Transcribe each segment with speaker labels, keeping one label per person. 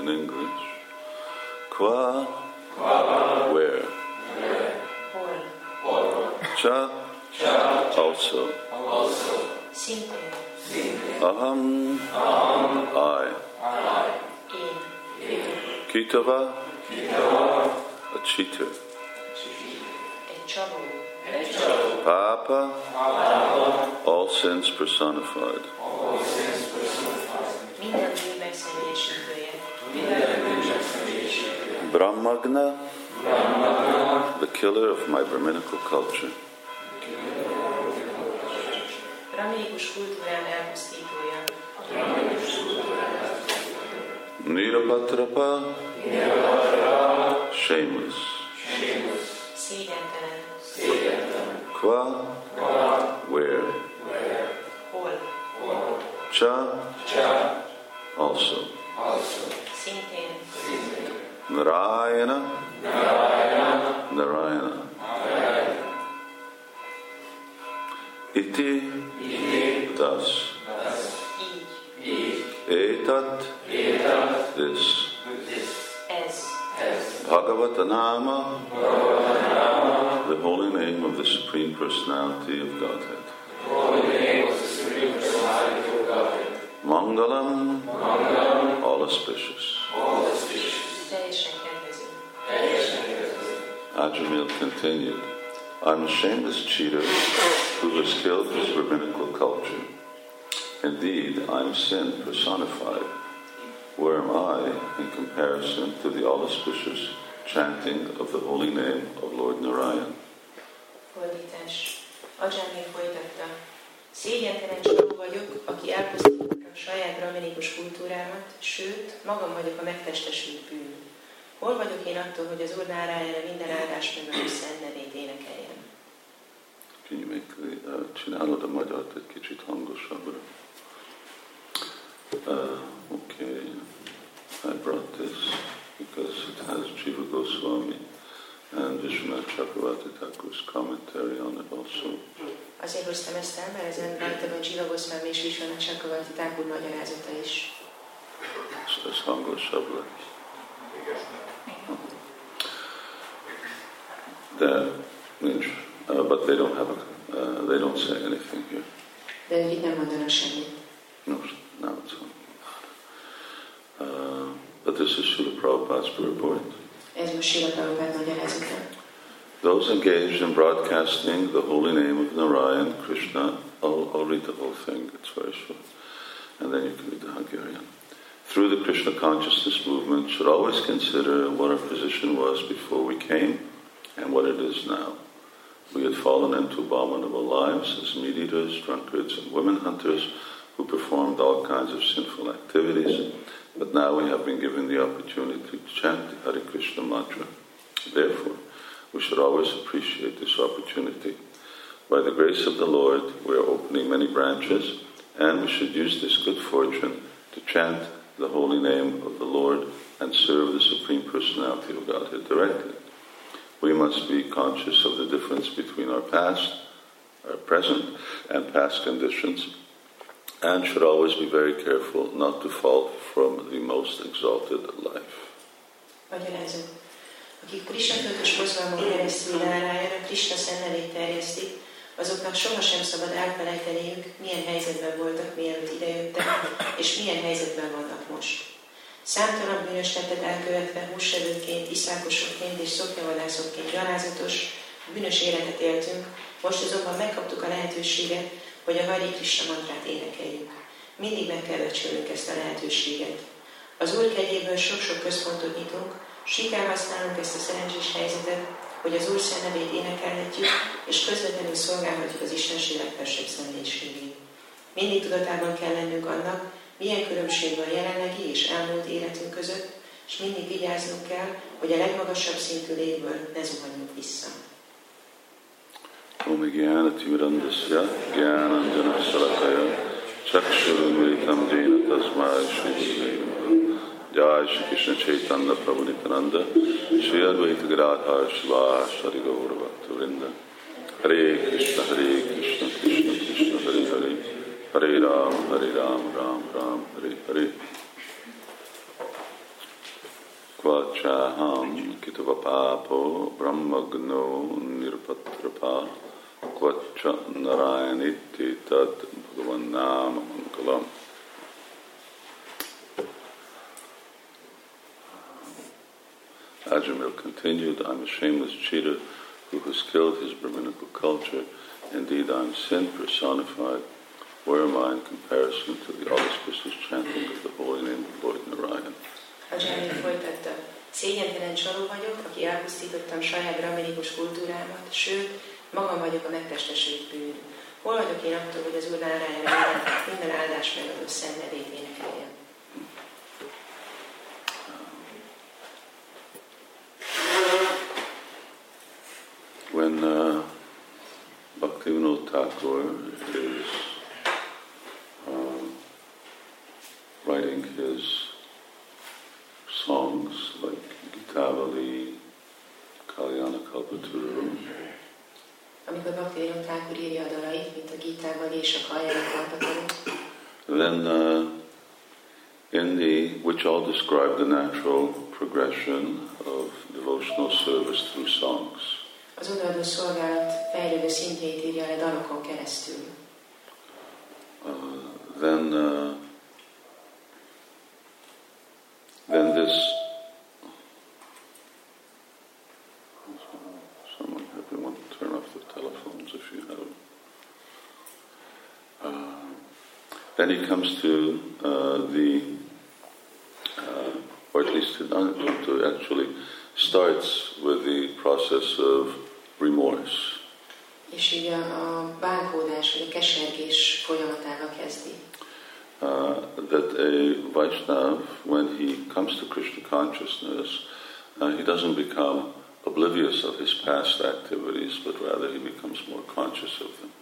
Speaker 1: in English. Qua. Where.
Speaker 2: hoy,
Speaker 1: Cha. Also.
Speaker 2: simple,
Speaker 1: Aham. I.
Speaker 2: él,
Speaker 1: Kitava. A cheater.
Speaker 2: el chavo,
Speaker 1: Papa. All sins personified.
Speaker 2: minden bűn megszenvedésítője,
Speaker 1: Brahmagna, the killer of my Brahminical culture.
Speaker 2: brahminikus kultúrán elpusztítója,
Speaker 1: Nirapatrapa, shameless.
Speaker 2: szégyentelen,
Speaker 1: Qua, where.
Speaker 2: hol,
Speaker 1: Cha, also.
Speaker 2: szintén,
Speaker 1: Narayana, Narayana. Iti, thus.
Speaker 2: így,
Speaker 1: Etat, this.
Speaker 2: ez,
Speaker 1: Bhagavatanama, the holy name of the Supreme Personality of Godhead. Mangalam, all auspicious.
Speaker 2: teljesen kedvező,
Speaker 1: Ajamil continued, I'm a shameless cheater who has killed his rabbinical culture. Indeed, I'm sin personified. Where am I in comparison to the all auspicious chanting of the holy name of Lord Narayan?
Speaker 2: fordítás. Ajánél folytatta. Szégyentelen csaló vagyok, aki elpusztítottam saját brahminikus kultúrámat, sőt, magam vagyok a megtestesült bűn. Hol vagyok én attól, hogy az Úr Nárájára minden áldás megadó szent nevét énekeljem?
Speaker 1: Can you make the, uh, csinálod a magyart egy kicsit hangosabbra? Uh, okay, I brought this because it has Jiva Goswami and Vishwanath Chakravarti Thakur's commentary on it also.
Speaker 2: Azért hoztam ezt el, mert ezen rajta van Csiva Goszmám és Visona Csakavati Tákúr magyarázata is.
Speaker 1: So ez hangosabb lesz. De nincs. Uh, but they don't have a, uh, they don't say anything here.
Speaker 2: De ők itt nem mondanak semmit.
Speaker 1: No, now it's on. Uh, but this is Srila Prabhupada's purport.
Speaker 2: Ez most Sila Prabhupád magyarázata.
Speaker 1: Those engaged in broadcasting the holy name of Narayan, Krishna, I'll, I'll read the whole thing, it's very short, and then you can read the Hungarian. Through the Krishna consciousness movement, should always consider what our position was before we came and what it is now. We had fallen into abominable lives as meat eaters, drunkards, and women hunters who performed all kinds of sinful activities, but now we have been given the opportunity to chant the Hare Krishna mantra. Therefore, we should always appreciate this opportunity. By the grace of the Lord, we are opening many branches, and we should use this good fortune to chant the holy name of the Lord and serve the Supreme Personality of Godhead directly. We must be conscious of the difference between our past, our present, and past conditions, and should always be very careful not to fall from the most exalted life.
Speaker 2: Magyarázat. Akik Krishna kötös mozgalmon keresztül Nárájára Krishna szennelét terjesztik, azoknak sohasem szabad elfelejteniük, milyen helyzetben voltak, mielőtt idejöttek, és milyen helyzetben vannak most. Számtalan bűnös tettet elkövetve, húsevőként, iszákosokként és szoknyavadászokként gyalázatos, bűnös életet éltünk, most azonban megkaptuk a lehetőséget, hogy a Hari Krishna mantrát énekeljük. Mindig meg kell öcsölnünk ezt a lehetőséget. Az Úr kegyéből sok-sok központot nyitunk, sikán használunk ezt a szerencsés helyzetet, hogy az Úr szenvedét énekelhetjük, és közvetlenül szolgálhatjuk az Istenség legfelsőbb szenvedésségét. Mindig tudatában kell lennünk annak, milyen különbség van jelenlegi és elmúlt életünk között, és mindig vigyáznunk kell, hogy a legmagasabb szintű légből ne zuhanjunk vissza.
Speaker 1: ॐ ज्ञानतिमिरन्दस्य ज्ञानञ्जनशलकय चक्षुरुन्मिलितं येन तस्मै श्रीगुरुवे नमः। जय श्रीकृष्णचैतन्यप्रभुनितानन्द श्री अद्वैतगिराधार शिवासरि गौरभक्तवृन्द हरे कृष्ण हरे कृष्ण कृष्ण कृष्ण हरे हरे हरे राम हरे Ram Ram Ram Hare Hare kvachaham kitava papo brahmagno nirpatrapa kvacha narayaniti tat bhagavannam mangalam. Ajamil continued, I'm a shameless cheater who has killed his Brahminical culture. Indeed, I'm sin personified. Where am I in comparison to the auspicious chanting of the holy name of Lord Narayan?
Speaker 2: A Jeremy folytatta. Szégyentelen csaló vagyok, aki elpusztítottam saját braminikus kultúrámat, sőt, magam vagyok a megtestesült bűn. Hol vagyok én attól, hogy az Úr Nárájára minden- minden áldás megadó szenvedét énekeljem?
Speaker 1: When uh, Bhaktivinoda Thakur is um, writing his songs like Gitavali, Kalyana Kalpaturu,
Speaker 2: Amikor Bhaktivinoda Thakur írja a dalait, mint a gitával és a kajján kalpatalom,
Speaker 1: then uh, in the which all describe the natural progression of devotional service through songs.
Speaker 2: az odaadó szolgálat fejlődő szintjét írja le dalokon keresztül.
Speaker 1: Uh, then uh, then this someone help me want to turn off the telephones if you have uh, then he comes to uh, the uh, or at least to, not to actually starts with the process of remorse
Speaker 2: És így a, a bánkódás vagy a kesergés folyamatával kezdi.
Speaker 1: uh, that a Vaishnav, when he comes to Krishna consciousness, uh, he doesn't become oblivious of his past activities, but rather he becomes more conscious of them.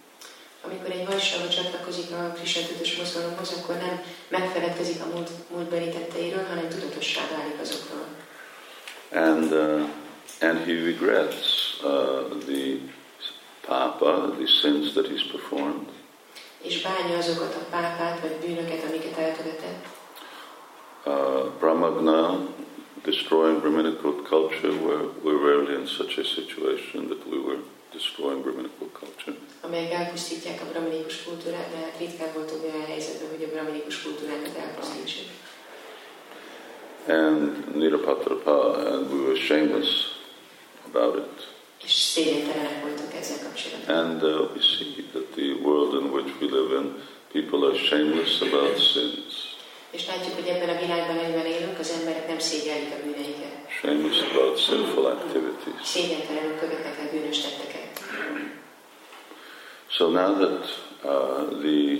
Speaker 2: Amikor egy vajsava csatlakozik a Krishna tudatos mozgalomhoz, akkor nem megfeledkezik a múlt, múltbeli tetteiről, hanem tudatossá válik azokról.
Speaker 1: And, uh, and he regrets uh, the papa, the sins that he's performed,
Speaker 2: És bánja azokat a pápát vagy bűnöket, amiket elkövetett.
Speaker 1: uh, brahmagna, destroying Brahminical culture, we're, we're rarely in such a situation that we were destroying Brahminical culture.
Speaker 2: amelyek elpusztítják a braminikus kultúrát, de hát ritkán voltunk olyan helyzetben, hogy a braminikus kultúrákat elpusztítsuk.
Speaker 1: and Nirapatrapa, and we were shameless about it.
Speaker 2: És szégyentelenek voltunk ezzel kapcsolatban.
Speaker 1: And uh, we see that the world in which we live in, people are shameless about sins,
Speaker 2: És látjuk, hogy ebben a világban, amiben élünk, az emberek nem szégyellik a bűneiket.
Speaker 1: shameless about sinful activities.
Speaker 2: Szégyentelenül követnek el bűnös tetteket.
Speaker 1: So now that uh, the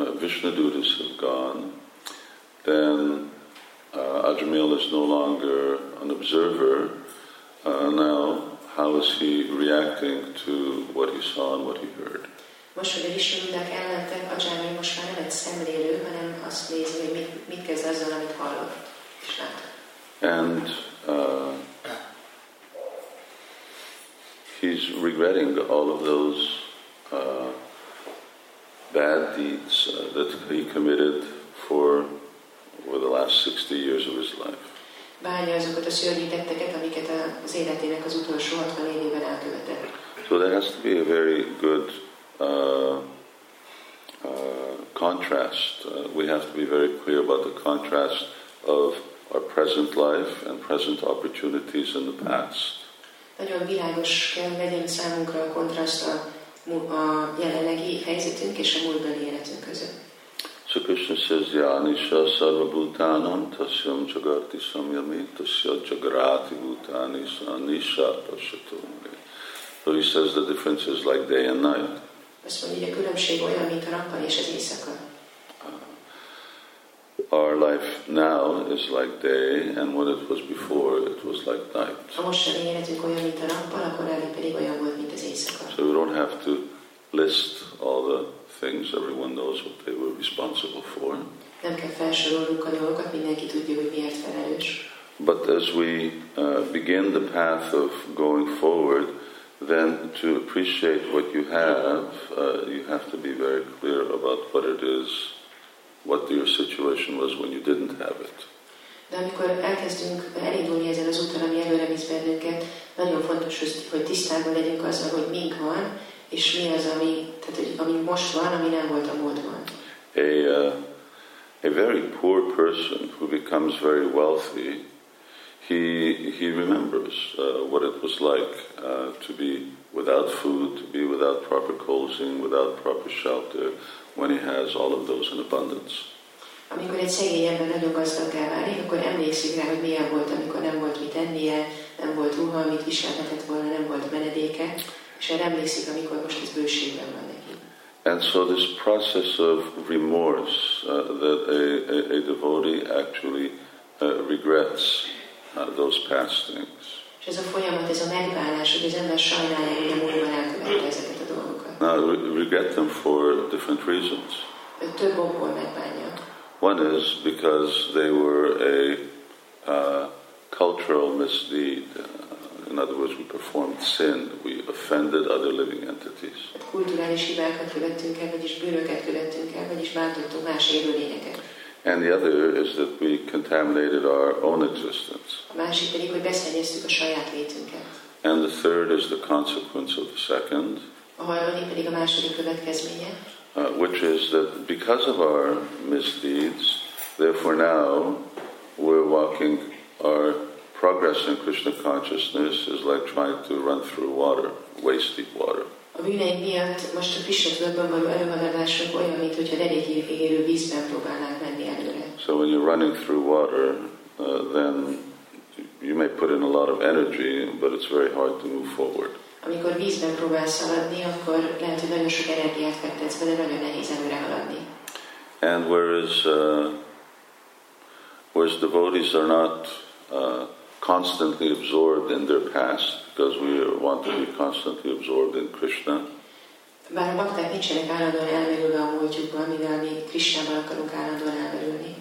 Speaker 1: uh, Vishnadutas have gone, then uh, Ajamil is no longer an observer. Uh, now, how is he reacting to what he saw and what he heard?
Speaker 2: Most, hogy a vislundák elmentek, a dzsámi most már nem egy szemlélő, hanem azt nézi, hogy mit, mit kezd azzal, amit hallott és látott.
Speaker 1: and uh, he's regretting all of those uh, bad deeds uh, that he committed for over the last 60 years of his life.
Speaker 2: Bánja azokat a szörnyű tetteket, amiket a- az életének az utolsó 60 évében elkövetett.
Speaker 1: So there has to be a very good uh, uh, contrast. Uh, we have to be very clear about the contrast of our present life and present opportunities in the past.
Speaker 2: Nagyon világos kell legyen számunkra a kontraszt a, mu- a jelenlegi helyzetünk és a múltbeli életünk között.
Speaker 1: So Krishna says, Yanisha sarvabhutanam tasyam jagarti samyami tasya jagarati bhutani sa nisha pasyato mare." So he says the difference is like day and night.
Speaker 2: Azt mondja, hogy a különbség olyan, mint a nappal és az éjszaka.
Speaker 1: Our life now is like day, and when it was before, it was like night.
Speaker 2: A mostani életünk olyan, mint a nappal, a korábbi pedig olyan volt, mint az éjszaka.
Speaker 1: So we don't have to list all the things. Everyone knows what they were responsible for.
Speaker 2: Nem kell felsorolnunk a dolgokat, mindenki tudja, hogy miért felelős.
Speaker 1: But as we uh, begin the path of going forward, then to appreciate what you have, uh, you have to be very clear about what it is, what your situation was when you didn't have it.
Speaker 2: De De amikor elkezdünk elindulni ezen az úton, ami előre visz bennünket, nagyon fontos, hogy- hogy tisztában legyünk azzal, hogy mink van, és mi az, ami, tehát, hogy ami most van, ami nem volt a múltban.
Speaker 1: A, uh, a very poor person who becomes very wealthy, he, he remembers uh, what it was like uh, to be without food, to be without proper clothing, without proper shelter, when he has all of those in abundance.
Speaker 2: Amikor egy szegény ember nagyon gazdaggá válik, akkor emlékszik rá, hogy milyen volt, amikor nem volt mit ennie, nem volt ruha, amit viselhetett volna, nem volt menedéke, és erre emlékszik, amikor most ez bőségben van neki.
Speaker 1: And so, this process of remorse uh, that a, a, a devotee actually uh, regrets uh, those past things.
Speaker 2: És ez a folyamat, ez a megbánás, hogy az ember sajnálja, hogy a múltban elkövette ezeket a dolgokat.
Speaker 1: Now, re- regret them for different reasons.
Speaker 2: Ő több okból megbánja.
Speaker 1: One is because they were a uh, cultural misdeed. Uh, in other words, we performed sin, we offended other living entities.
Speaker 2: Tehát kulturális hibákat követtünk el, vagyis bűnöket követtünk el, vagyis bántottunk más élőlényeket.
Speaker 1: And the other is that we contaminated our own existence.
Speaker 2: A másik pedig, hogy beszennyeztük a saját létünket.
Speaker 1: And the third is the consequence of the second,
Speaker 2: A harmadik pedig a második következménye,
Speaker 1: uh, which is that because of our misdeeds, therefore now we're walking, our progress in Krishna consciousness is like trying to run through water, waste deep water.
Speaker 2: A bűneink miatt most a Krishna tudatban való előadások olyan, mintha derékig érő vízben próbálnánk menni előre.
Speaker 1: So when you're running through water, uh, then you may put in a lot of energy, but it's very hard to move forward.
Speaker 2: Amikor vízben próbálsz szaladni, akkor lehet, hogy nagyon sok energiát fektetsz bele, nagyon nehéz előre haladni.
Speaker 1: And whereas uh, whereas devotees are not uh, constantly absorbed in their past, because we want to be constantly absorbed in Krishna,
Speaker 2: Bár a bakták nincsenek állandóan elmerülve a múltjukban, mivel mi Krishnában akarunk állandóan elmerülni.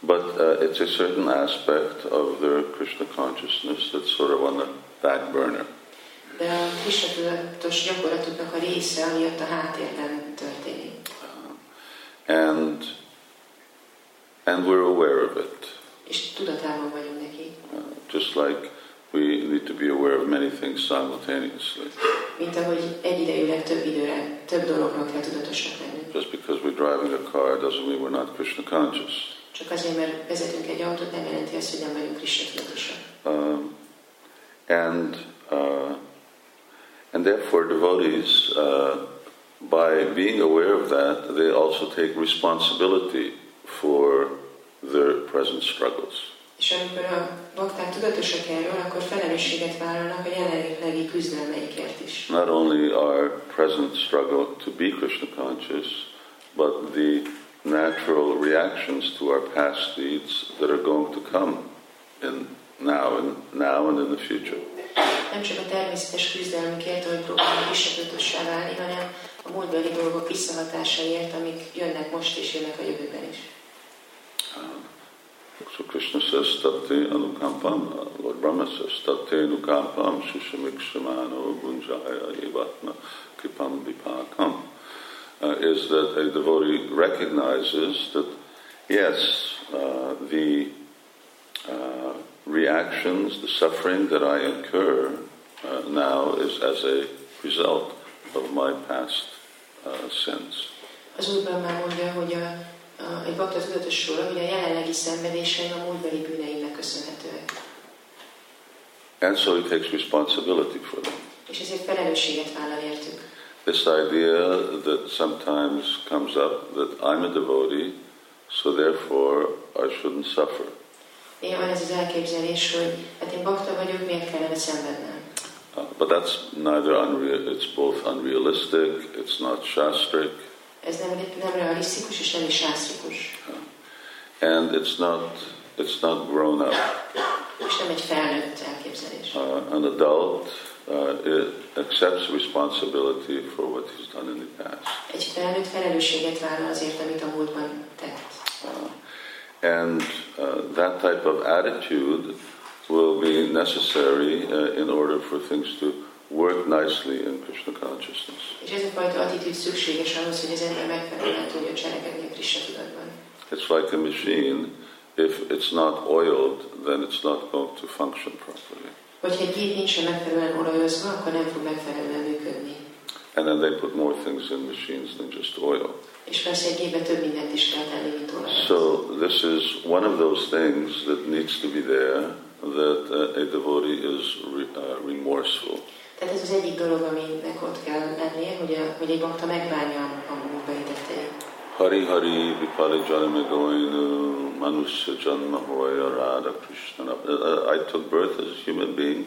Speaker 1: but uh, it's a certain aspect of their Krishna consciousness that's sort of on the back burner.
Speaker 2: De a Krishna tudatos gyakorlatoknak a része, ami ott a háttérben történik.
Speaker 1: And and we're aware of it.
Speaker 2: És tudatában vagyunk neki.
Speaker 1: Uh, just like we need to be aware of many things simultaneously.
Speaker 2: Mint ahogy egyidejűleg több időre, több dologról kell tudatosnak lennünk.
Speaker 1: Just because we're driving a car doesn't mean we're not Krishna conscious.
Speaker 2: Csak azért, mert vezetünk egy autót, nem jelenti azt, hogy nem vagyunk Krishna tudatosak.
Speaker 1: Um, and uh, and therefore, devotees, uh, by being aware of that, they also take responsibility for their present struggles.
Speaker 2: És amikor a bakták tudatosak erről, akkor felelősséget vállalnak a jelenlegi küzdelmeikért is.
Speaker 1: Not only our present struggle to be Krishna conscious, but the natural reactions to our past deeds that are going to come in now and now and in the future.
Speaker 2: Nem csak a természetes küzdelmükért, ahogy próbálnak Krishna tudatossá válni, hanem a múltbeli dolgok visszahatásaiért, amik jönnek most és jönnek a jövőben is.
Speaker 1: So Krishna says, Tate Anukampam, Uh, Lord Brahma says, Tate Anukampam, Shishamikshimano, Gunjaya, Evatma, Kipam Vipakam, uh, is that a devotee recognizes that, yes, uh, the uh, reactions, the suffering that I incur uh, now is as a result of my past uh, sins.
Speaker 2: Az úrban már mondja, hogy a, a, egy bakta tudatosul, hogy a jelenlegi szenvedéseim a múltbeli bűneimnek köszönhetőek.
Speaker 1: And so he takes responsibility for them.
Speaker 2: És ezért felelősséget vállal értük.
Speaker 1: This idea that sometimes comes up that I'm a devotee, so therefore I shouldn't suffer.
Speaker 2: Néha van ez az elképzelés, hogy hát én bakta vagyok, miért kellene szenvednem?
Speaker 1: Uh, but that's neither unreal, it's both unrealistic, it's not shastric,
Speaker 2: Ez nem, nem realisztikus és nem is sásztikus,
Speaker 1: and it's not, it's not grown up.
Speaker 2: és nem egy felnőtt elképzelés.
Speaker 1: Uh, an adult uh, it accepts responsibility for what he's done in the past.
Speaker 2: Egy felnőtt felelősséget vállal azért, amit a múltban tett.
Speaker 1: Uh, and uh, that type of attitude will be necessary uh, in order for things to work nicely in Krishna consciousness.
Speaker 2: És ez a fajta attitűd szükséges ahhoz, hogy az ember megfelelően tudja cselekedni a Krishna tudatban.
Speaker 1: It's like a machine if it's not oiled, then it's not going to function properly.
Speaker 2: Hogyha egy gép nincsen megfelelően olajozva, akkor nem fog megfelelően működni.
Speaker 1: And then they put more things in machines than just oil.
Speaker 2: És persze egy gépbe több mindent is kell tenni, mint olajat.
Speaker 1: So this is one of those things that needs to be there that uh, a devotee is re- uh, remorseful.
Speaker 2: Tehát ez az egyik dolog, aminek ott kell lennie, hogy, a, hogy egy bakta megbánja a múltbeli tetteit.
Speaker 1: Hari Hari Vipali Janamagoinu Manusya Janmahoya Radha Krishna. Nap- uh, uh, I took birth as a human being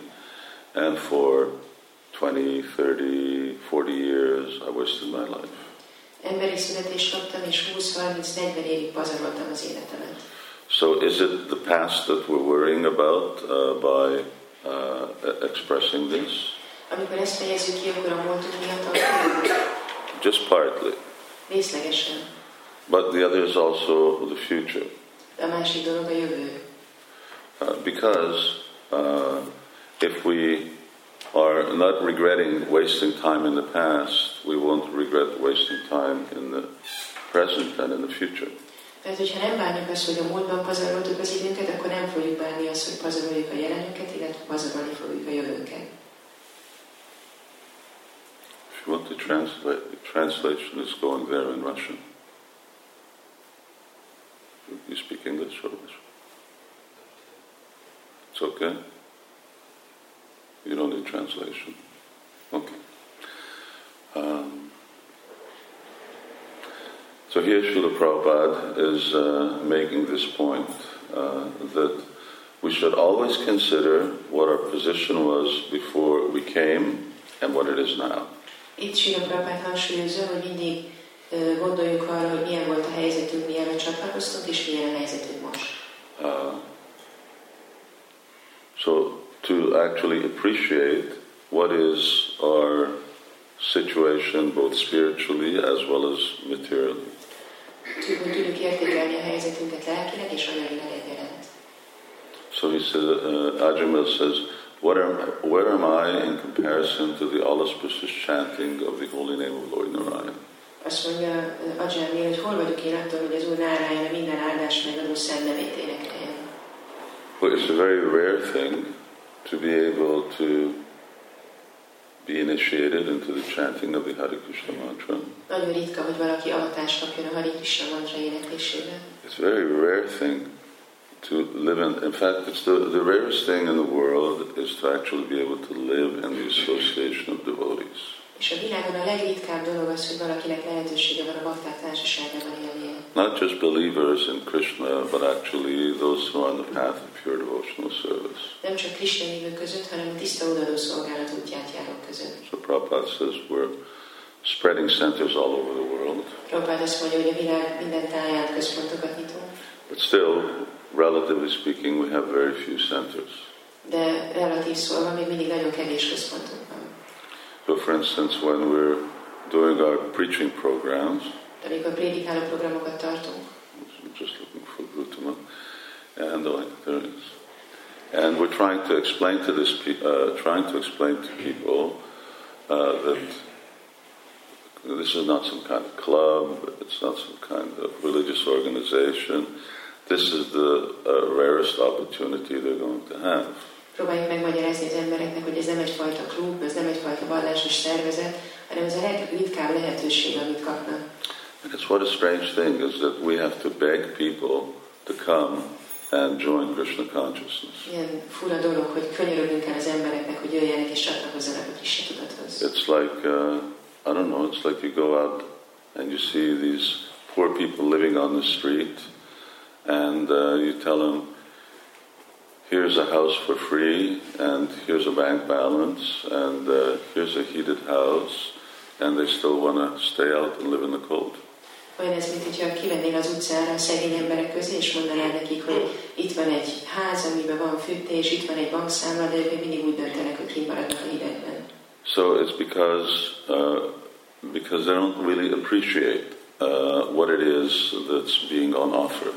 Speaker 1: and for 20, 30, 40 years I wasted my life.
Speaker 2: Emberi születést kaptam, és 20-30-40 évig pazaroltam az életemet.
Speaker 1: So is it the past that we're worrying about uh, by uh, e- expressing this?
Speaker 2: Amikor ezt fejezzük ki, akkor a múltunk miatt aggódunk.
Speaker 1: Just partly.
Speaker 2: részlegesen.
Speaker 1: But the other is also the future.
Speaker 2: De a másik dolog a jövő.
Speaker 1: Uh, because uh, if we are not regretting wasting time in the past, we won't regret wasting time in the present and in the future.
Speaker 2: Tehát, hogyha nem bánjuk azt, hogy a múltban pazaroltuk az időnket, akkor nem fogjuk bánni azt, hogy pazaroljuk a jelenünket, illetve pazarolni fogjuk a jövőnket.
Speaker 1: If you want to translate, the translation is going there in Russian. You speak English or Russian? It's okay. You don't need translation. Okay. Um, so here Srila Prabhupada is uh, making this point uh, that we should always consider what our position was before we came and what it is now.
Speaker 2: Itt Sila Prabhát hangsúlyozza, hogy mindig ö, gondoljuk arra, hogy milyen volt a helyzetünk, mielőtt csatlakoztunk, és milyen a helyzetünk most.
Speaker 1: Uh, so to actually appreciate what is our situation both spiritually as well as materially.
Speaker 2: Tudjuk, hogy tudjuk értékelni a helyzetünket lelkileg és anyagilag egyaránt.
Speaker 1: So he says, uh, Ajamil says, what am, where am I in comparison to the all-auspicious chanting of the holy name of Lord Narayan?
Speaker 2: Azt mondja Ajami, hogy hol vagyok én attól, hogy az Úr nárájára minden áldás megadó szent nevét énekeljem.
Speaker 1: Well, it's a very rare thing to be able to be initiated into the chanting of the Hare Krishna mantra.
Speaker 2: Nagyon ritka, hogy valaki avatást kapjon a Hari Krishna mantra éneklésében.
Speaker 1: It's a very rare thing to live in. In fact, it's the, the rarest thing in the world is to actually be able to live in the association of devotees.
Speaker 2: És a világon a legritkább dolog az, hogy valakinek lehetősége van a bakták társaságában élnie.
Speaker 1: Not just believers in Krishna, but actually those who are on the path of pure devotional service.
Speaker 2: Nem csak Krishna hívők között, hanem a tiszta odaadó szolgálat útját járók között.
Speaker 1: So Prabhupada says we're spreading centers all over the world,
Speaker 2: Prabhupád azt mondja, hogy a világ minden táján központokat nyitunk,
Speaker 1: but still, relatively speaking, we have very few centers.
Speaker 2: de relatív szólva még mindig nagyon kevés központunk van.
Speaker 1: So for instance, when we're doing our preaching programs,
Speaker 2: De amikor prédikáló programokat tartunk,
Speaker 1: I'm just looking for Gautama. And oh, there it is. And we're trying to explain to this, pe- uh, trying to explain to people uh, that this is not some kind of club. It's not some kind of religious organization. This is the uh, rarest opportunity they're going to have.
Speaker 2: próbáljuk megmagyarázni az embereknek, hogy ez nem egyfajta klub, ez nem egyfajta vallásos szervezet, hanem ez a legritkább lehetőség, amit kapnak.
Speaker 1: And it's what a strange thing is that we have to beg people to come and join Krishna consciousness.
Speaker 2: Ilyen fura dolog, hogy könyörögünk el az embereknek, hogy jöjjenek és csatlakozzanak a Krishna tudathoz.
Speaker 1: It's like, uh, I don't know, it's like you go out and you see these poor people living on the street, and uh, you tell them, here's a house for free, and here's a bank balance, and uh, here's a heated house, and they still want to stay out and live in the cold.
Speaker 2: Olyan ez, mint hogyha kivennél az utcára a szegény emberek közé, és mondanál nekik, hogy itt van egy ház, amiben van fűtés, itt van egy bankszámla, de ők még mindig úgy döntenek, hogy kint maradnak a hidegben.
Speaker 1: So it's because, uh, because they don't really appreciate uh, what it is that's being on offer.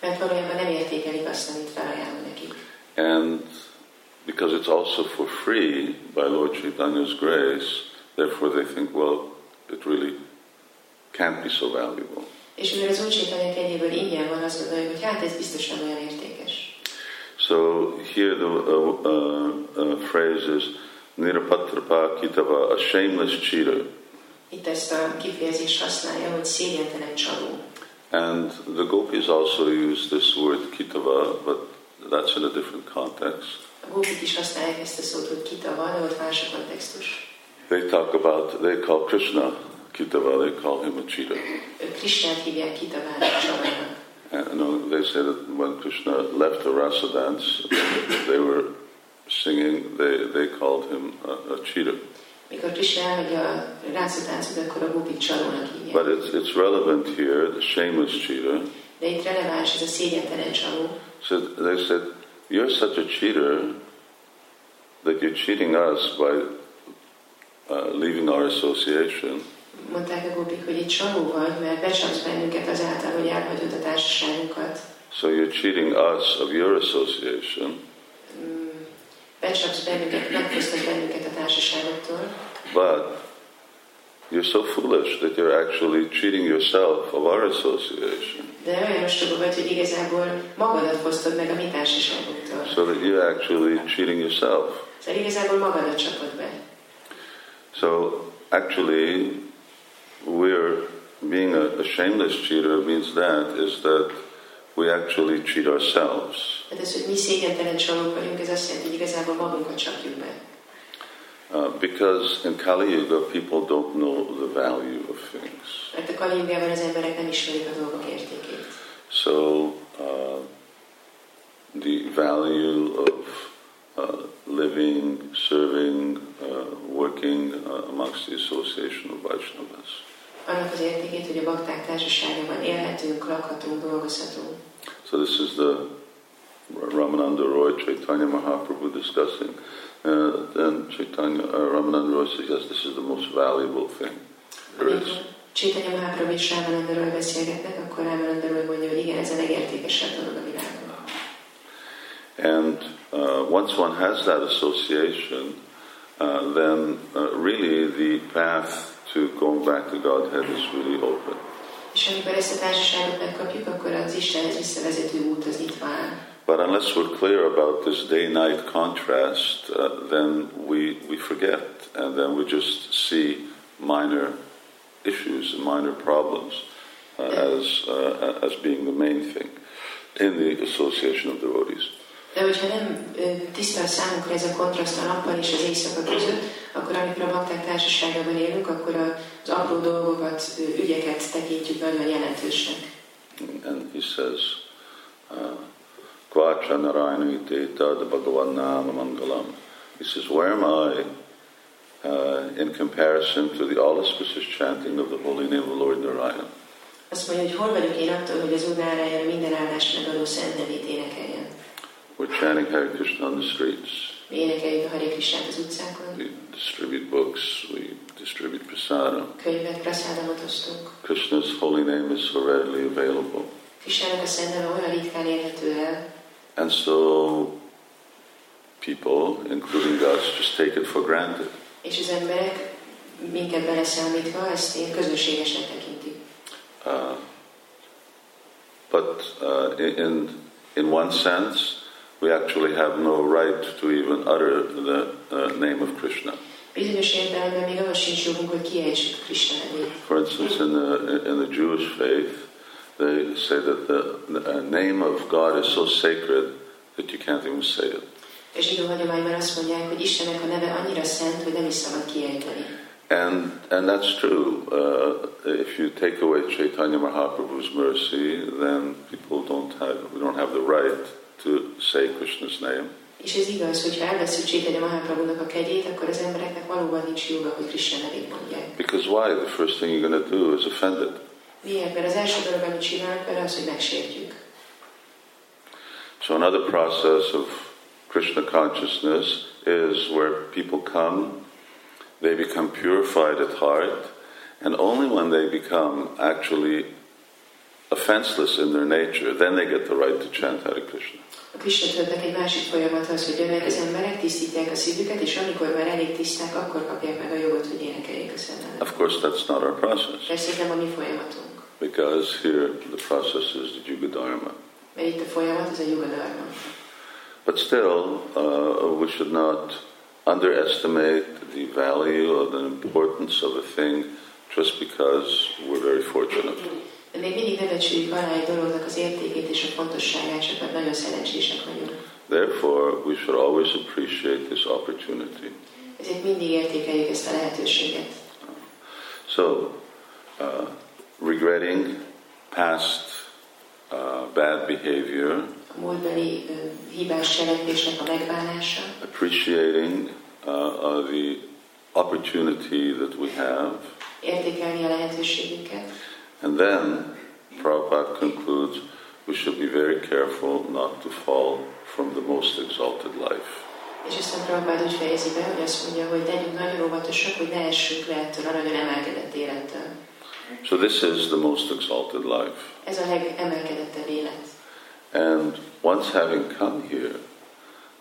Speaker 2: Mert valójában nem értékelik azt, amit felajánlom nekik.
Speaker 1: And because it's also for free by Lord Chaitanya's grace, therefore they think, well, it really can't be so valuable.
Speaker 2: És mivel az új csétanyák egyéből ingyen van, azt gondoljuk, hogy hát ez biztosan olyan értékes.
Speaker 1: So here the uh, uh, uh, phrase is nirapatrapa kitava, a shameless cheater.
Speaker 2: Itt ezt a kifejezést használja, hogy szégyentelen csaló.
Speaker 1: And the gopis also use this word kitava, but that's in a different context.
Speaker 2: A gópik is használják ezt a szót, hogy kitava, de ott más a kontextus.
Speaker 1: They talk about, they call Krishna kitava, they call him a cheater.
Speaker 2: Ők Krisnát hívják kitavának, csalónak.
Speaker 1: And, you know, they say that when Krishna left the rasa dance, they were singing, they, they called him a, a cheater.
Speaker 2: Mikor Krishna elmegy a rácsatáncot, akkor a gópik csalónak hívják.
Speaker 1: But it's, it's relevant here, the shameless cheater.
Speaker 2: De itt releváns ez a szégyentelen csaló.
Speaker 1: So they said, You're such a cheater that you're cheating us by uh, leaving our association.
Speaker 2: Mondták a gópik, hogy egy csaló vagy, mert becsalsz bennünket azáltal, hogy elhagyod a társaságunkat.
Speaker 1: So you're cheating us of your association
Speaker 2: Mm, Becsapsz bennünket, megfosztod bennünket a társaságoktól,
Speaker 1: But you're so foolish that you're actually cheating yourself of our association,
Speaker 2: de olyan ostoba vagy, hogy igazából magadat fosztod meg a mi társaságunktól.
Speaker 1: so that you're actually cheating yourself.
Speaker 2: Szóval igazából magadat csapod be.
Speaker 1: So actually, we're being a, a shameless cheater means that is that we actually cheat ourselves.
Speaker 2: Tehát Hát ez, hogy mi szégyentelen csalók vagyunk, ez azt jelenti, hogy igazából magunkat csapjuk be.
Speaker 1: Uh, because in Kali Yuga, people don't know the value of things.
Speaker 2: Mert a kalindiában az emberek nem ismerik a dolgok értékét.
Speaker 1: So uh, the value of uh, living, serving, uh, working uh, amongst the association of Vaishnavas.
Speaker 2: Annak az értékét, hogy a bakták társaságában élhetünk, lakhatunk, dolgozhatunk.
Speaker 1: So this is the Ramananda Roy Chaitanya Mahaprabhu discussing. Uh, then Chaitanya uh, Ramananda Roy says, yes, this is the most valuable thing there is.
Speaker 2: Amikor Csétanya Mahaprabhu és Rámanandaról beszélgetnek, akkor Rámanandaról mondja, hogy igen, ez a legértékesebb dolog a világon.
Speaker 1: And uh, once one has that association, uh, then uh, really the path to going back to Godhead is really open.
Speaker 2: És amikor ezt a társaságot megkapjuk, akkor az Istenhez visszavezető út az nyitva áll.
Speaker 1: But unless we're clear about this day-night contrast, uh, then we, we forget, and then we just see minor issues and minor problems uh, as, uh, as being the main thing in the association of devotees.
Speaker 2: De hogyha nem ö, tiszta a számunkra ez a kontraszt a nappal és az éjszaka között, akkor amikor a bakták társaságában élünk, akkor a- az apró dolgokat, ö, ügyeket tekintjük nagyon jelentősnek.
Speaker 1: And he says, uh, Kvacha Narayana Teta Bhagavan Nama Mangalam. He says, Where am I uh, in comparison to the all auspicious chanting of the holy name of Lord Narayana?
Speaker 2: Azt mondja, hogy hol vagyok én attól, hogy az Udárájára minden áldást megadó szent nevét énekeljen.
Speaker 1: We're chanting Hare Krishna on the streets.
Speaker 2: Mi énekeljük a Hare Krishnát az utcákon,
Speaker 1: We distribute books, we distribute prasadam.
Speaker 2: könyvet, praszádamot osztunk.
Speaker 1: Krishna's holy name is so readily available.
Speaker 2: Krishnának a szent neve olyan ritkán érhető el,
Speaker 1: And so people, including us, just take it for granted.
Speaker 2: és az emberek minket beleszámítva ezt én közösségesnek tekintik.
Speaker 1: Uh, but uh, in in one sense, we actually have no right to even utter the uh, name of Krishna.
Speaker 2: Bizonyos értelemben még ahhoz sincs jogunk, hogy kiejtsük Krishna nevét.
Speaker 1: For instance, in the in the Jewish faith, they say that the, the uh, name of God is so sacred that you can't even say it.
Speaker 2: És zsidó hagyományban azt mondják, hogy Istennek a neve annyira szent, hogy nem is szabad kiejteni.
Speaker 1: And and that's true. Uh, if you take away Chaitanya Mahaprabhu's mercy, then people don't have we don't have the right to say Krishna's name.
Speaker 2: És ez igaz, hogy ha elveszünk Csétanya Mahaprabhunak a kegyét, akkor az embereknek valóban nincs joga, hogy Krishna nevét mondják.
Speaker 1: Because why? The first thing you're going to do is offend it.
Speaker 2: Miért? Mert az első dolog, amit csinálunk vele, az, hogy megsértjük.
Speaker 1: So another process of Krishna consciousness is where people come, they become purified at heart, and only when they become actually offenseless in their nature, then they get the right to chant Hare Krishna.
Speaker 2: A Krishna tudatnak egy másik folyamat az, hogy jönnek az emberek, tisztítják a szívüket, és amikor már elég tiszták, akkor kapják meg a jogot, hogy énekeljék a szent nevet.
Speaker 1: Of course, that's not our process.
Speaker 2: Persze ez nem a mi folyamatunk.
Speaker 1: because here the process is the Juga Dharma.
Speaker 2: Mert itt a folyamat, ez a Yuga Dharma.
Speaker 1: But still, uh, we should not underestimate the value or the importance of a thing just because we're very fortunate.
Speaker 2: De még mindig ne becsüljük alá egy dolognak az értékét és a fontosságát, csak mert nagyon szerencsések vagyunk.
Speaker 1: Therefore, we should always appreciate this opportunity.
Speaker 2: Ezért mindig értékeljük ezt a lehetőséget.
Speaker 1: So, uh, regretting past uh, bad behavior,
Speaker 2: A múltbeli ö, hibás cselekvésnek a megválása,
Speaker 1: appreciating uh, uh, the opportunity that we have,
Speaker 2: értékelni a lehetőségünket,
Speaker 1: and then Prabhupada concludes we should be very careful not to fall from the most exalted life.
Speaker 2: és aztán Prabhupád úgy fejezi be, hogy azt mondja, hogy legyünk nagyon óvatosak, hogy ne essünk le ettől a nagyon emelkedett élettől.
Speaker 1: So, this is the most exalted life.
Speaker 2: Ez a legemelkedettebb élet.
Speaker 1: And once having come here,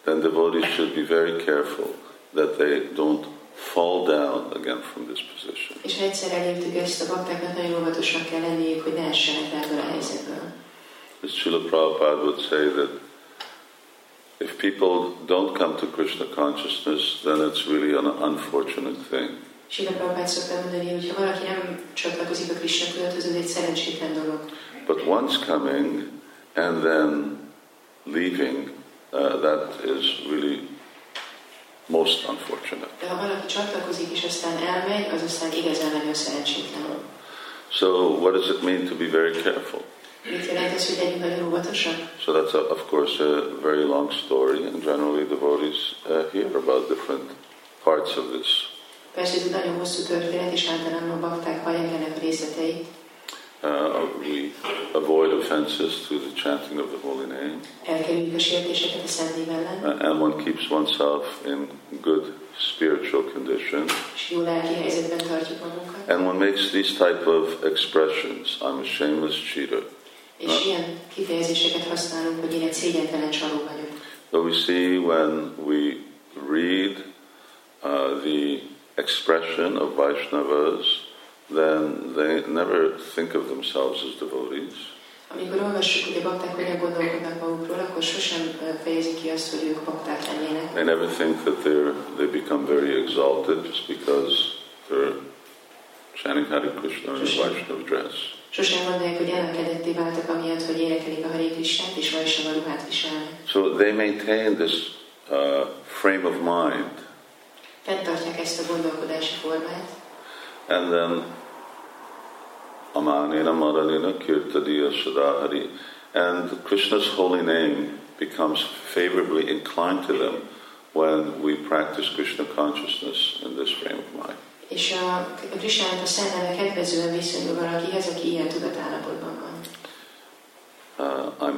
Speaker 1: then devotees should be very careful that they don't fall down again from this position.
Speaker 2: És ha egyszer elértük ezt a baktáknak, nagyon óvatosnak kell lenniük, hogy ne essenek le ebből a helyzetből.
Speaker 1: As Srila Prabhupada would say that if people don't come to Krishna consciousness, then it's really an unfortunate thing.
Speaker 2: Sila Prabhupád szokta mondani, hogy ha valaki nem csatlakozik a Krishna tudathoz, az egy szerencsétlen dolog.
Speaker 1: But once coming and then leaving, uh, that is really most unfortunate.
Speaker 2: De ha valaki csatlakozik és aztán elmegy, az aztán igazán nagyon szerencsétlen.
Speaker 1: So, what does it mean to be very careful?
Speaker 2: Mit jelent ez, hogy legyünk nagyon óvatosak?
Speaker 1: So that's, a, of course, a very long story, and generally devotees uh, hear about different parts of this.
Speaker 2: Persze ez egy nagyon hosszú történet, és általában a bakták hallják ennek a részleteit.
Speaker 1: Uh, we avoid offenses through the chanting of the holy name,
Speaker 2: Elkerüljük a sértéseket a szennév ellen,
Speaker 1: uh, and one keeps oneself in good spiritual condition,
Speaker 2: és jó lelki helyzetben tartjuk magunkat.
Speaker 1: and one makes these type of expressions. I'm a shameless cheater.
Speaker 2: És ilyen kifejezéseket használunk, hogy én egy szégyentelen csaló vagyok.
Speaker 1: So we see when we read uh, the expression of Vaishnavas, then they never think of themselves as devotees.
Speaker 2: Amikor olvassuk, hogy a bakták hogyan gondolkodnak magukról, akkor sosem ö, fejezik ki azt, hogy ők bakták lennének.
Speaker 1: They never think that they're, they become very exalted just because they're chanting Hare Krishna in a Vaishnava dress.
Speaker 2: Sosem gondolják, hogy emelkedetté váltak, amiatt, hogy énekelik a Haré Krisnát, és Vajsava ruhát viselnek.
Speaker 1: So they maintain this uh, frame of mind,
Speaker 2: Fenntartják ezt a gondolkodási formát,
Speaker 1: and then Amanina Maranina Kirtadiya Sadahari, and Krishna's holy name becomes favorably inclined to them when we practice Krishna consciousness in this frame of mind.
Speaker 2: és a, a Krisnának a szelleme kedvezően viszonyul valakihez, aki ilyen tudatállapotban van.
Speaker 1: Uh, I'm,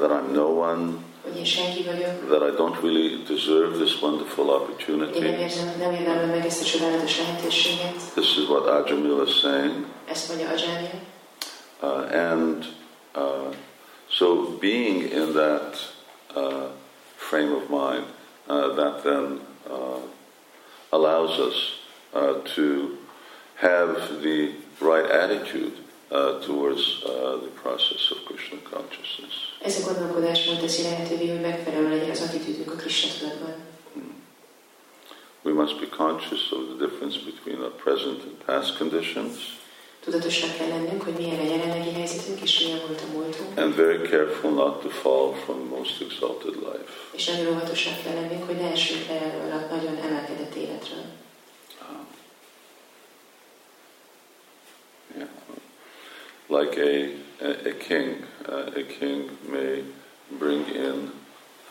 Speaker 1: that I'm no one,
Speaker 2: Hogy én senki vagyok,
Speaker 1: that I don't really deserve this wonderful
Speaker 2: én nem,
Speaker 1: opportunity.
Speaker 2: érzem, nem érdemlem meg ezt a csodálatos lehetőséget.
Speaker 1: This is what Ajamila is saying.
Speaker 2: Ezt mondja Ajanya.
Speaker 1: Uh, and uh, so being in that uh, frame of mind, uh, that then uh, allows us uh, to have the right attitude uh, towards uh, the process of Krishna consciousness.
Speaker 2: Ez a gondolkodás volt teszi lehetővé, hogy megfelelő legyen az attitűdünk a Krisna tudatban.
Speaker 1: We must be conscious of the difference between our present and past conditions.
Speaker 2: Tudatosnak kell lennünk, hogy milyen a jelenlegi helyzetünk, és milyen volt a múltunk,
Speaker 1: and very careful not to fall from the most exalted life.
Speaker 2: és nagyon óvatosnak kell lennünk, hogy ne essünk le erről a nagyon emelkedett életről.
Speaker 1: Um, yeah. Like a, a, a king, uh, a king may bring in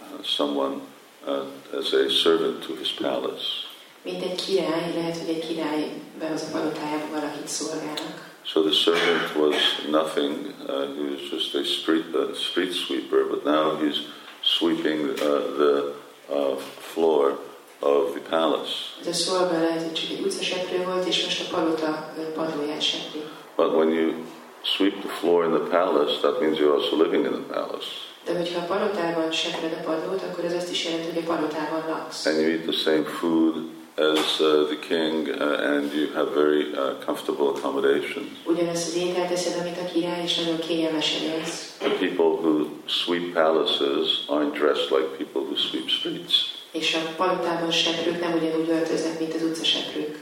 Speaker 1: uh, someone uh, as a servant to his palace.
Speaker 2: Mint egy király, lehet, hogy egy király behoz a palotájába valakit szolgálnak.
Speaker 1: So the servant was nothing, uh, he was just a street, uh, street sweeper, but now he's sweeping uh, the uh, floor of the palace.
Speaker 2: Ez a szolga lehet, hogy csak egy utcaseprő volt, és most a palota ö, padlóját sepri.
Speaker 1: But when you sweep the floor in the palace, that means you're also living in the palace.
Speaker 2: De hogyha a palotában sepred a padlót, akkor ez azt is jelenti, hogy a palotában laksz.
Speaker 1: And you eat the same food as uh, the king, uh, and you have very uh, comfortable accommodations.
Speaker 2: Ugyanazt az ételt teszed, amit a király, és nagyon kényelmesen élsz.
Speaker 1: The people who sweep palaces aren't dressed like people who sweep streets.
Speaker 2: És a palotában seprők nem ugyanúgy öltöznek, mint az utcaseprők.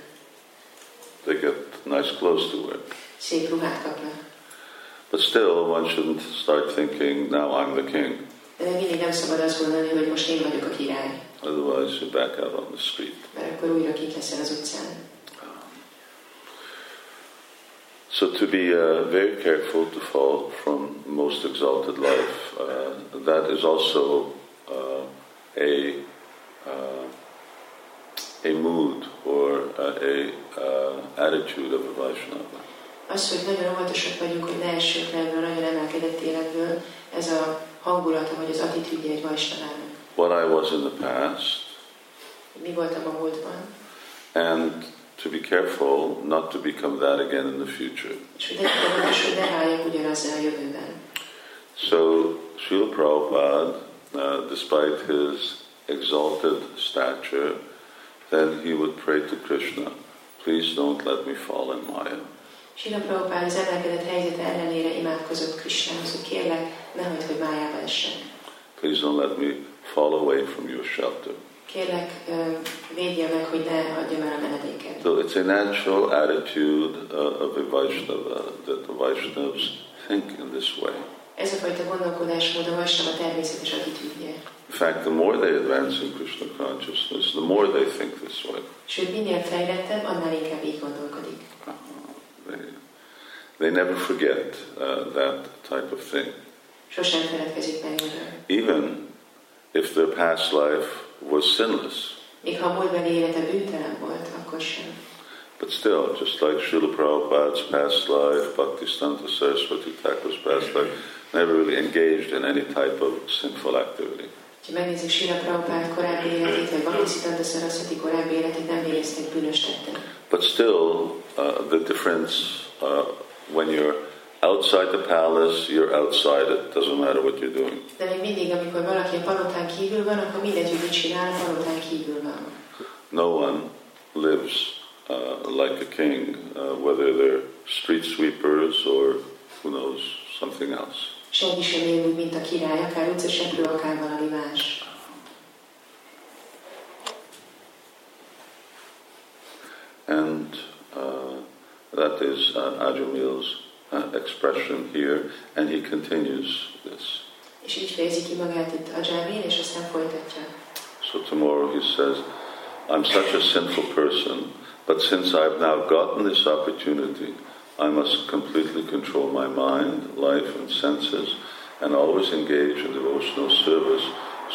Speaker 1: They get nice clothes to wear.
Speaker 2: Szép ruhát kapnak.
Speaker 1: But still, one shouldn't start thinking, now I'm the king.
Speaker 2: De még mindig nem szabad azt gondolni, hogy most én vagyok a király,
Speaker 1: Otherwise, you're back out on the street.
Speaker 2: mert akkor újra kint leszel az utcán.
Speaker 1: So to be uh, very careful to fall from most exalted life, uh, that is also uh, a uh, a mood or uh, a uh, attitude of a Vaishnava.
Speaker 2: Az, hogy nagyon óvatosak vagyunk, hogy ne essünk le ebből a nagyon emelkedett életből, ez a hangulata vagy az attitűdje egy vajstanának.
Speaker 1: What I was in the past,
Speaker 2: Mi voltam a múltban,
Speaker 1: and to be careful not to become that again in the future.
Speaker 2: és hogy legyen óvatos, hogy ne váljak ugyanazzal a jövőben.
Speaker 1: So Srila Prabhupada, uh, despite his exalted stature, then he would pray to Krishna, please don't let me fall in Maya.
Speaker 2: Sila Prabhupád az emelkedett helyzet ellenére imádkozott Krisnához, hogy kérlek, ne hagyd, hogy májába essek.
Speaker 1: Please don't let me fall away from your shelter.
Speaker 2: Kérlek, ö, védje meg, hogy ne hagyjam el a menedéket.
Speaker 1: So it's a natural attitude uh, of a Vaishnava that the Vaishnavas think in this way.
Speaker 2: Ez a fajta gondolkodásmód a Vaisnava természetes attitűdje.
Speaker 1: In fact, the more they advance in Krishna consciousness, the more they think this way.
Speaker 2: Sőt, minél fejlettebb, annál inkább így gondolkodik.
Speaker 1: Uh, they, they never forget uh, that type of thing.
Speaker 2: Sosem feledkezik meg erről.
Speaker 1: even if their past life was sinless.
Speaker 2: Még ha a múltbeli élete bűntelen volt, akkor sem.
Speaker 1: But still, just like Srila Prabhupada's past life, Bhaktistanta Saraswati Thakur's past life, never really engaged in any type of sinful activity.
Speaker 2: Ha megnézzük Sila Prabhupád korábbi életét, vagy Bakisitanta Saraswati korábbi életét, nem végeztek bűnös tettek.
Speaker 1: But still, uh, the difference uh, when you're outside the palace, you're outside it, doesn't matter what you're doing.
Speaker 2: De még mindig, amikor valaki a palotán kívül van, akkor mindegy, hogy mit csinál, a palotán kívül van.
Speaker 1: No one lives uh, like a king, uh, whether they're street sweepers or who knows, something else.
Speaker 2: Senki sem él úgy, mint a király, akár utcaseprő, akár valami más.
Speaker 1: And uh, that is uh, Ajamil's uh, expression here, and he continues this.
Speaker 2: És így fejezi ki magát itt a Jamil, és aztán folytatja.
Speaker 1: So tomorrow he says, I'm such a sinful person, but since I've now gotten this opportunity, I must completely control my mind, life, and senses, and always engage in devotional service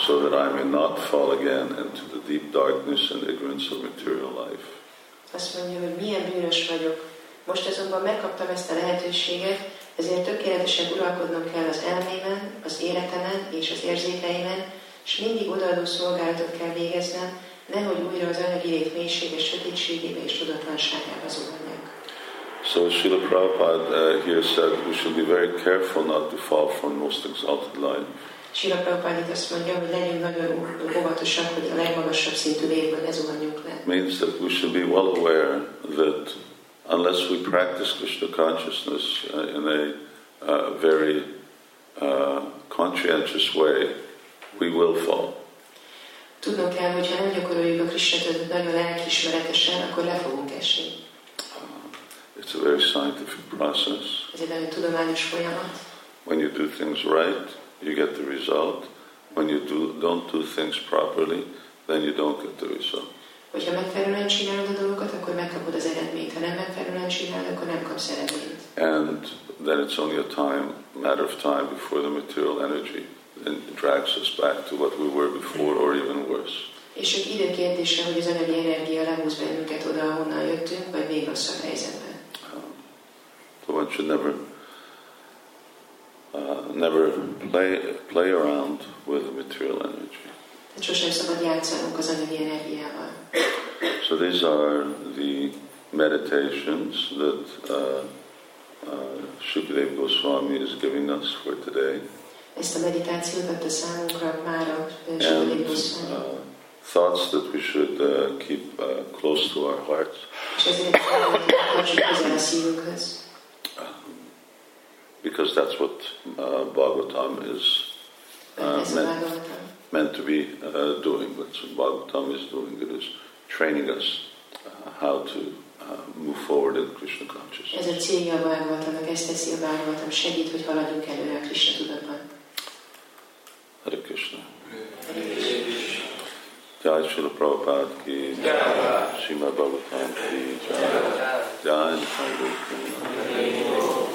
Speaker 1: so that I may not fall again into the deep darkness and ignorance of material life.
Speaker 2: Azt mondja, hogy milyen bűnös vagyok. Most azonban megkaptam ezt a lehetőséget, ezért tökéletesen uralkodnom kell az elmémen, az életemen és az érzékeimen, és mindig odaadó szolgálatot kell végeznem, nehogy újra az anyagi lét mélységes sötétségébe és tudatlanságába zuhanjak.
Speaker 1: So Srila Prabhupada uh, here said we should be very careful not to fall from most exalted life.
Speaker 2: Sila Prabhupád itt azt mondja, hogy legyünk nagyon óvatosak, hogy a legmagasabb szintű létből ne zuhanjunk le.
Speaker 1: It means that we should be well aware that unless we practice Krishna consciousness uh, in a uh, very uh, conscientious way, we will fall.
Speaker 2: Tudnunk kell, hogy ha nem gyakoroljuk a Krisna nagyon lelkiismeretesen, akkor le fogunk esni.
Speaker 1: It's a very scientific process.
Speaker 2: Ez egy nagyon tudományos folyamat.
Speaker 1: When you do things right, you get the result. When you do, don't do things properly, then you don't get the result.
Speaker 2: Hogyha megfelelően csinálod a dolgokat, akkor megkapod az eredményt. Ha nem megfelelően csinálod, akkor nem kapsz eredményt.
Speaker 1: And then it's only a time, matter of time before the material energy then drags us back to what we were before or even worse.
Speaker 2: És csak idő kérdése, hogy az anyagi energia lehúz bennünket oda, ahonnan jöttünk, vagy még rosszabb helyzetben.
Speaker 1: Um, so one should never, uh, never play, play around with the material energy.
Speaker 2: Tehát sosem szabad játszanunk az anyagi energiával.
Speaker 1: So these are the meditations that uh, uh, Shukadev Goswami is giving us for today.
Speaker 2: Ezt a meditációt adta számunkra már a
Speaker 1: And
Speaker 2: Sőteli
Speaker 1: uh, thoughts that we should uh, keep uh, close to our hearts.
Speaker 2: és ezért tartsuk közel a szívünkhöz,
Speaker 1: because that's what uh, Bhagavatam is
Speaker 2: mert ez a
Speaker 1: Amen.
Speaker 2: Bhagavatam.
Speaker 1: meant to be uh, doing. That's what Bhagavatam is doing. It is training us uh, how to uh, move forward in Krishna
Speaker 2: Ez
Speaker 1: consciousness.
Speaker 2: a célja a Bhagavatamnak, ezt teszi a Bhagavatam, segít, hogy haladjunk előre a Krishna tudatban.
Speaker 1: Hare Krishna.
Speaker 3: Krishna.
Speaker 1: Jai Srila Prabhupada ki
Speaker 3: Jai.
Speaker 1: Jai. Srimad Bhagavatam ki Jai. Jai Jai Krishna.
Speaker 3: Hare Krishna.